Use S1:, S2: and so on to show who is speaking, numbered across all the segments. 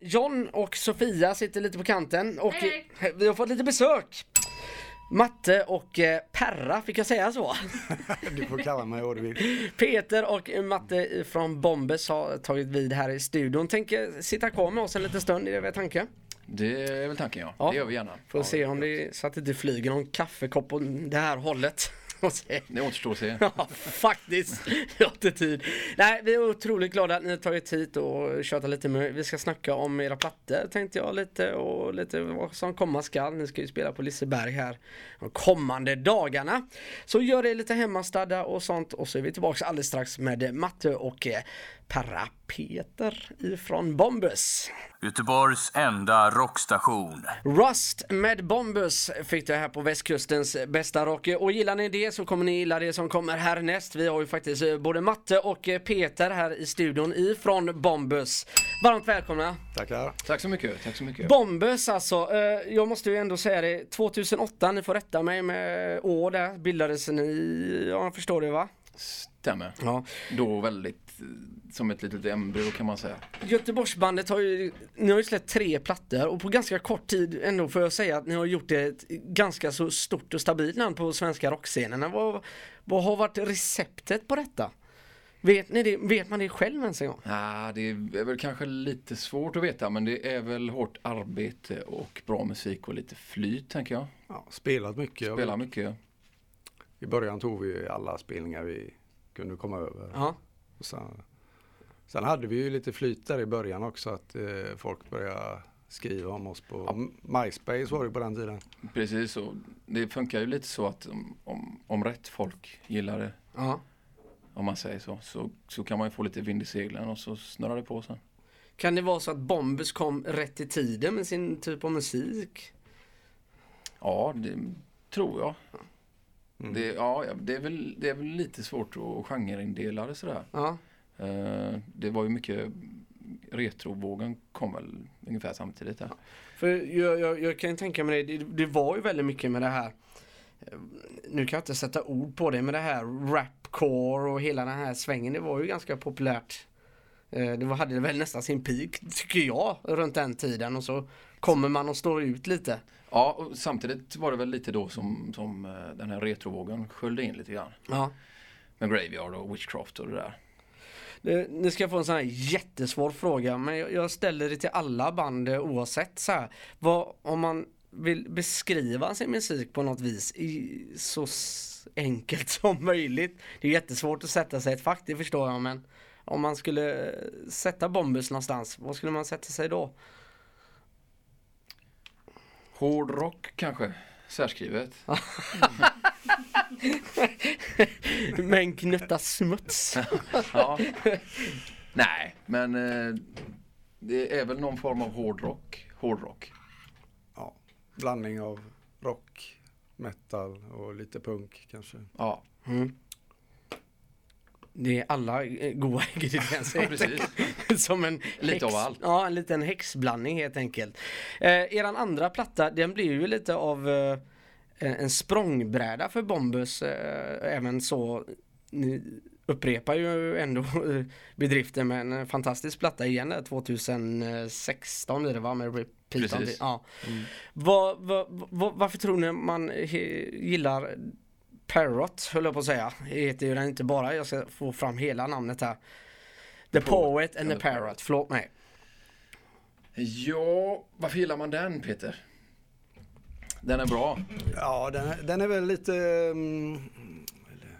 S1: John och Sofia sitter lite på kanten och
S2: Hej,
S1: vi har fått lite besök. Matte och eh, Perra, fick jag säga så?
S3: Du får kalla mig vad du vill.
S1: Peter och eh, Matte från Bombes har tagit vid här i studion. Tänker sitta kvar med oss en liten stund, är det väl tanken?
S4: Det är väl tanken ja.
S1: Ja.
S4: Det gör vi gärna.
S1: Får se om det så att det inte flyger någon kaffekopp åt det här hållet. Och se.
S4: Det återstår att se.
S1: Ja, faktiskt. Jag har inte tid. Nej, vi är otroligt glada att ni har tagit hit och tjötat lite med. Vi ska snacka om era plattor tänkte jag lite och lite vad som komma skall. Ni ska ju spela på Liseberg här de kommande dagarna. Så gör er lite hemmastadda och sånt och så är vi tillbaka alldeles strax med Matte och eh, Perra Peter ifrån Bombus.
S5: Göteborgs enda rockstation.
S1: Rust med Bombus fick det här på västkustens bästa rock. Och gillar ni det så kommer ni gilla det som kommer härnäst. Vi har ju faktiskt eh, både Matte och eh, Peter här i studion ifrån Bombus. Varmt välkomna!
S3: Tackar.
S4: Tack så mycket. Tack så mycket.
S1: Bombus alltså, eh, jag måste ju ändå säga det, 2008, ni får rätta mig med år där, bildades ni, ja jag förstår det va?
S4: Stämmer.
S1: Ja.
S4: Då väldigt eh, som ett litet embryo kan man säga.
S1: Göteborgsbandet har ju, ni har ju släppt tre plattor och på ganska kort tid ändå får jag säga att ni har gjort ett ganska så stort och stabilt namn på svenska rockscenerna. Vad, vad har varit receptet på detta? Vet, ni det, vet man det själv ens en gång?
S4: Ah, det är väl kanske lite svårt att veta men det är väl hårt arbete och bra musik och lite flyt tänker jag.
S3: Ja, spelat mycket.
S4: Spela mycket.
S3: I början tog vi alla spelningar vi kunde komma över.
S1: Ja.
S3: Och sen, sen hade vi ju lite flyt där i början också att eh, folk började skriva om oss på MySpace var det på den tiden.
S4: Precis och det funkar ju lite så att om, om, om rätt folk gillar det
S1: ja.
S4: om man säger så, så, så kan man ju få lite vind i seglen och så snurrar det på sen.
S1: Kan det vara så att Bombus kom rätt i tiden med sin typ av musik?
S4: Ja, det tror jag. Mm. Det, ja, ja, det, är väl, det är väl lite svårt att genreindela det sådär.
S1: Ja.
S4: Eh, det var ju mycket, retrovågen kom väl ungefär samtidigt där.
S1: För jag, jag, jag kan ju tänka mig det, det, det var ju väldigt mycket med det här eh, nu kan jag inte sätta ord på det, men det här rapcore och hela den här svängen, det var ju ganska populärt. Eh, Det var, hade väl nästan sin peak, tycker jag, runt den tiden och så kommer man och står ut lite.
S4: Ja, och samtidigt var det väl lite då som, som eh, den här retrovågen sköljde in lite grann.
S1: Ja.
S4: Med Graveyard och Witchcraft och det där.
S1: Eh, Ni ska få en sån här jättesvår fråga, men jag, jag ställer det till alla band eh, oavsett så här. Vad, om man vill beskriva sin musik på något vis i, så s- enkelt som möjligt. Det är jättesvårt att sätta sig i ett fack, det förstår jag, men om man skulle eh, sätta Bombus någonstans, vad skulle man sätta sig då?
S4: Hård rock kanske, särskrivet.
S1: Med en knutta smuts.
S4: Ja. Nej, men eh, det är väl någon form av hårdrock. Hårdrock.
S3: Ja, blandning av rock, metal och lite punk kanske.
S4: Ja,
S1: Det är alla eh, goda ingredienser.
S4: ja precis.
S1: Som en
S4: Lite
S1: häx,
S4: av allt.
S1: Ja, en liten häxblandning helt enkelt. Eh, eran andra platta, den blir ju lite av eh, en en språngbräda för Bombus. Eh, även så, ni upprepar ju ändå eh, bedriften med en fantastisk platta igen där 2016 blir det va? Med Repeat on
S4: Precis. Mm.
S1: the, ja. Vad- vad- vad- Varför tror ni man he, gillar Parrot, höll jag på att säga. Det heter ju den inte bara, jag ska få fram hela namnet här. The Poet and the Parrot, förlåt mig.
S4: Ja, varför gillar man den Peter? Den är bra.
S3: Ja, den är, den är väl lite, mm, eller,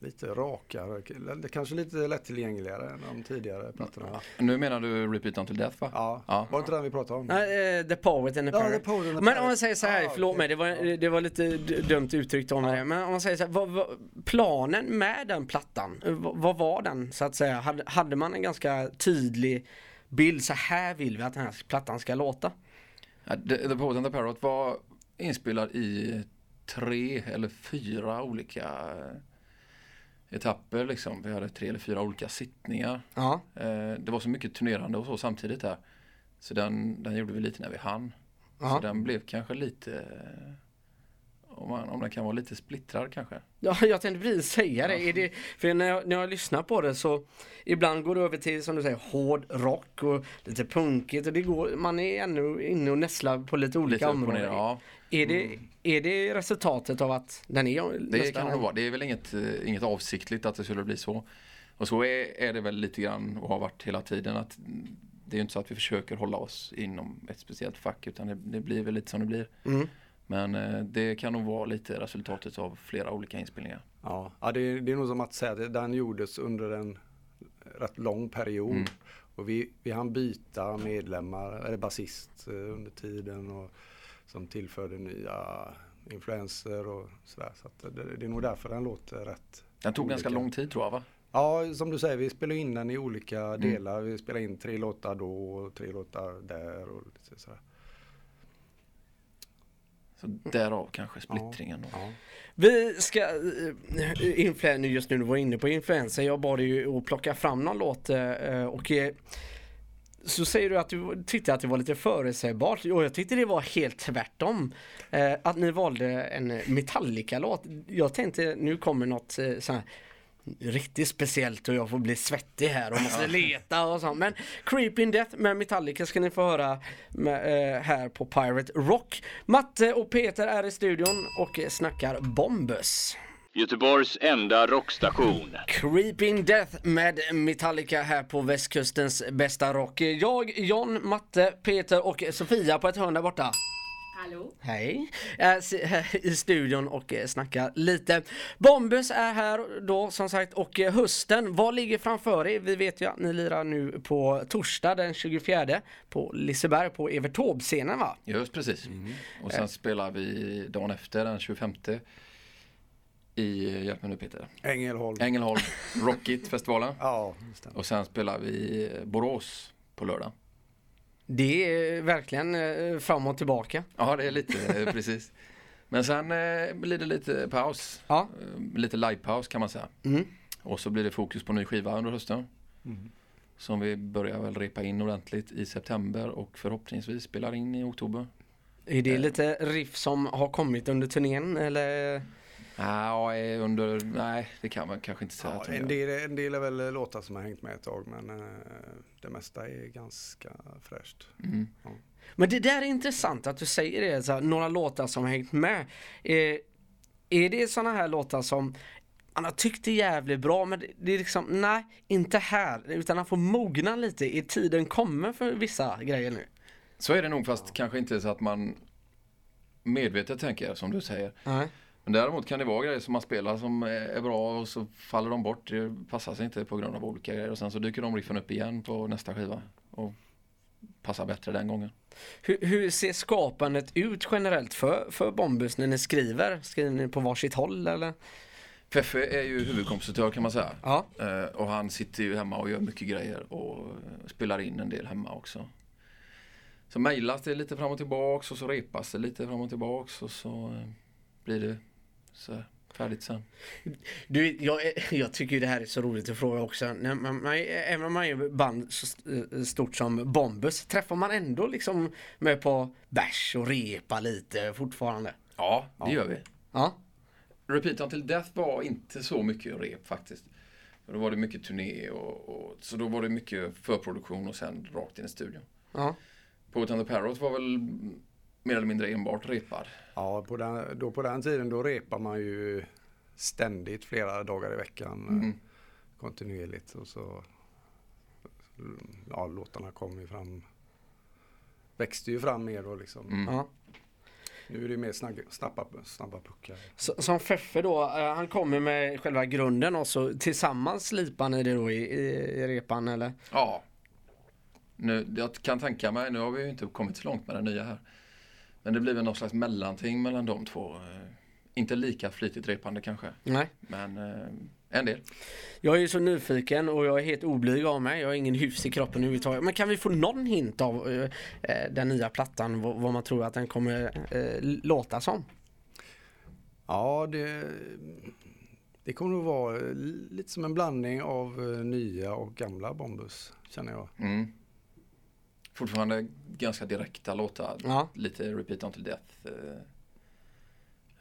S3: lite rakare, k- eller kanske lite lättillgängligare än de tidigare plattorna.
S4: Nu menar du Repeat Until Death va?
S3: Ja,
S4: Ja.
S3: var det inte den vi pratade om?
S1: Nej, eh, the Poet and the
S3: Ja,
S1: Parrot.
S3: The Poet and the
S1: men om
S3: Parrot.
S1: man säger så här,
S3: Ah,
S1: förlåt
S3: okej.
S1: mig, det var, det var lite d- dumt uttryckt om det. Men om man säger så här, vad, vad, planen med den plattan, eh, vad, vad var den så att säga? Hade, hade man en ganska tydlig bild, så här vill vi att den här plattan ska låta?
S4: Ja, The, the Poet and the Parrot var inspelad i tre eller fyra olika eh, etapper liksom. Vi hade tre eller fyra olika sittningar.
S1: Ja,
S4: Eh, det var så mycket turnerande och så samtidigt här. Så den, den gjorde vi lite när vi hann.
S1: Ja.
S4: Så den blev kanske lite eh, Om, man, om den kan vara lite splittrad kanske.
S1: Ja, jag tänkte precis säga det. Är det för när jag, när jag lyssnar på det så ibland går det över till som du säger hård rock och lite punkigt och det går, man är ännu inne och nästlar på lite olika
S4: Lite upp och
S1: områden.
S4: ner, ja. Mm.
S1: är, det, är det resultatet av att den är
S4: Det kan det nog vara. Det är väl inget, eh, inget avsiktligt att det skulle bli så. Och så är, är det väl lite grann och har varit hela tiden. att mm, Det är ju inte så att vi försöker hålla oss inom ett speciellt fack utan det, det blir väl lite som det blir.
S3: Mm.
S4: Men eh, det kan nog vara lite resultatet av flera olika inspelningar.
S3: Ja, ja det, är, det är nog som att säga, det- den gjordes under en rätt lång period.
S4: Mm.
S3: Och vi, vi hann byta medlemmar, eller basist eh, under tiden och som tillförde nya influenser och sådär. Så att det, det är nog därför den låter rätt.
S4: Den tog
S3: olika.
S4: ganska lång tid tror jag va?
S3: Ja, som du säger, vi spelar in den i
S4: Mm.
S3: olika delar. Vi spelar in tre låtar då och tre låtar där och lite sådär.
S4: Så därav kanske splittringen. då.
S3: Ja.
S1: Vi ska, eh, influ- nu just nu du var inne på influenser, jag bad dig ju att plocka fram någon låt eh, och eh, så säger du att du tyckte att det var lite förutsägbart och jag tyckte det var helt tvärtom. Eh, att ni valde en Metallica-låt. Jag tänkte nu kommer något eh, så här riktigt speciellt och jag får bli svettig här och måste leta och sånt. Men Creeping Death med Metallica ska ni få höra med, eh, här på Pirate Rock. Matte och Peter är i studion och eh, snackar Bombus.
S5: Göteborgs enda rockstation.
S1: Creeping Death med Metallica här på västkustens bästa rock. Jag, John, Matte, Peter och Sofia på ett hörn där borta.
S2: Hallå?
S1: Hej! Är s- här i studion och eh, snackar lite. Bombus är här då som sagt och eh, hösten, vad ligger framför er? Vi vet ju att ni lirar nu på torsdag den 24 på Liseberg på Evert Taube-scenen va?
S4: Just precis.
S3: Mm.
S4: Och sen spelar vi dagen efter den 25 i, hjälp mig nu Peter,
S3: Mm. Ängelholm.
S4: Ängelholm Rockit-festivalen.
S3: Ja, just det.
S4: Och sen spelar vi Borås på lördag.
S1: Det är verkligen eh, fram och tillbaka.
S4: Ja, det är lite eh, precis. Men sen eh, blir det lite paus.
S1: Ja.
S4: Eh, Lite livepaus kan man säga.
S3: Mm.
S4: Och så blir det fokus på ny skiva under hösten. Mm. Som vi börjar väl repa in ordentligt i september och förhoppningsvis spelar in i oktober.
S1: Är det lite riff som har kommit under turnén eller?
S4: Ja, eh, under, nej, det kan man kanske inte säga.
S3: Ja,
S4: att de
S3: en,
S4: gör.
S3: del, en del är väl låtar som har hängt med ett tag men eh, det mesta är ganska fräscht.
S4: Mm.
S1: Men det där är intressant att du säger det, så här, några låtar som har hängt med. Eh, är det såna här låtar som han har tyckt det är jävligt bra men det- det är liksom, nej, inte här. Utan han får mogna lite, är tiden kommen för vissa grejer nu?
S4: Så är det nog, fast kanske inte så att man medvetet tänker, som du säger.
S1: Nej.
S4: Men däremot kan det vara grejer som man spelar som är bra och så faller de bort. Det passar sig inte på grund av olika grejer. Och sen så dyker de riffen upp igen på nästa skiva. Och passar bättre den gången.
S1: Hur, hur ser skapandet ut generellt för, för Bombus när ni skriver? Skriver ni på varsitt håll eller?
S4: Feffe är ju huvudkompositör kan man säga.
S1: Ja.
S4: Eh, Och han sitter ju hemma och gör mycket grejer och eh, spelar in en del hemma också. Så mejlas det lite fram och tillbaks och så repas det lite fram och tillbaks och så eh, blir det så här färdigt sen.
S1: Du, jag, är- jag tycker ju det här är så roligt att fråga också. När man, man, även om man är band så st- eh, stort som Bombus, träffar man ändå liksom med på bärs och repa lite fortfarande?
S4: Ja, det gör vi.
S1: Ja.
S4: Repeat Until Death var inte så mycket rep faktiskt. För Då var det mycket turné och, och så då var det mycket förproduktion och sen rakt in i studion.
S1: ja.
S4: Poet and the Parrots var väl mm, mer eller mindre enbart repad.
S3: Ja, på den, då på den tiden då repar man ju ständigt flera dagar i veckan eh,
S4: Mm.
S3: kontinuerligt och så ja, låtarna kom ju fram växte ju fram mer då liksom.
S4: Mm.
S1: ja.
S3: Nu är det mer snabba, snabba, snabba puckar.
S1: Så, som Feffe då, eh, han kommer med själva grunden och så tillsammans slipar ni det då i, i, i repan eller?
S4: Ja. Nu, jag kan tänka mig, nu har vi ju inte kommit så långt med den nya här. Men det blir väl någon slags mellanting mellan de två. eh, Inte lika flitigt repande kanske,
S1: Nej.
S4: men eh, en del.
S1: Jag är ju så nyfiken och jag är helt oblyg av mig. Jag har ingen hyfs i kroppen överhuvudtaget. Men kan vi få någon hint av eh, eh, den nya plattan? Vad, vad man tror att den kommer eh, låta som?
S3: Ja, det, det kommer att vara lite som en blandning av eh, nya och gamla Bombus känner jag.
S4: Mm. Fortfarande ganska direkta låtar.
S1: Ja.
S4: Lite Repeat Until Death. eh,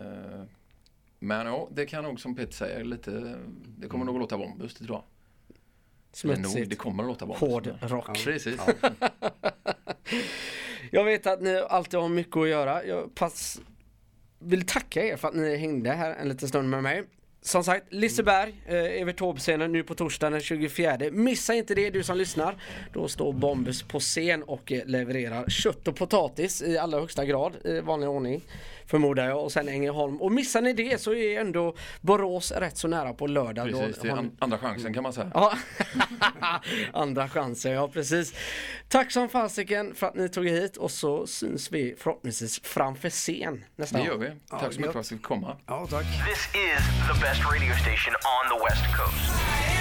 S4: Eh, Men ja, det kan nog som Peter säger lite, det
S1: Mm.
S4: kommer nog att låta bombus, det tror jag. Eller Nog, det
S1: Smutsigt.
S4: kommer att låta bombus.
S1: Hård rock.
S4: Precis.
S1: Jag vet att ni alltid har mycket att göra. Jag pass vill tacka er för att ni hängde här en liten stund med mig. Som sagt, Liseberg, eh, Evert Taube-scenen nu på torsdagen den 24. Missa inte det du som lyssnar. Då står Bombus på scen och eh, levererar kött och potatis i allra högsta grad i vanlig ordning. Förmodar jag och sen Ängelholm. Och missar ni det så är ändå Borås rätt så nära på lördag. Då
S4: Precis, det är
S1: har ni-
S4: an- andra chansen kan man säga.
S1: Ja, andra chanser, ja precis. Tack som fasiken för att ni tog er hit och så syns vi förhoppningsvis framför scen nästa
S4: Det
S1: gång.
S4: gör vi. Tack så mycket för att vi fick komma.
S3: Ja, tack.
S2: This is the best radio station on the West Coast.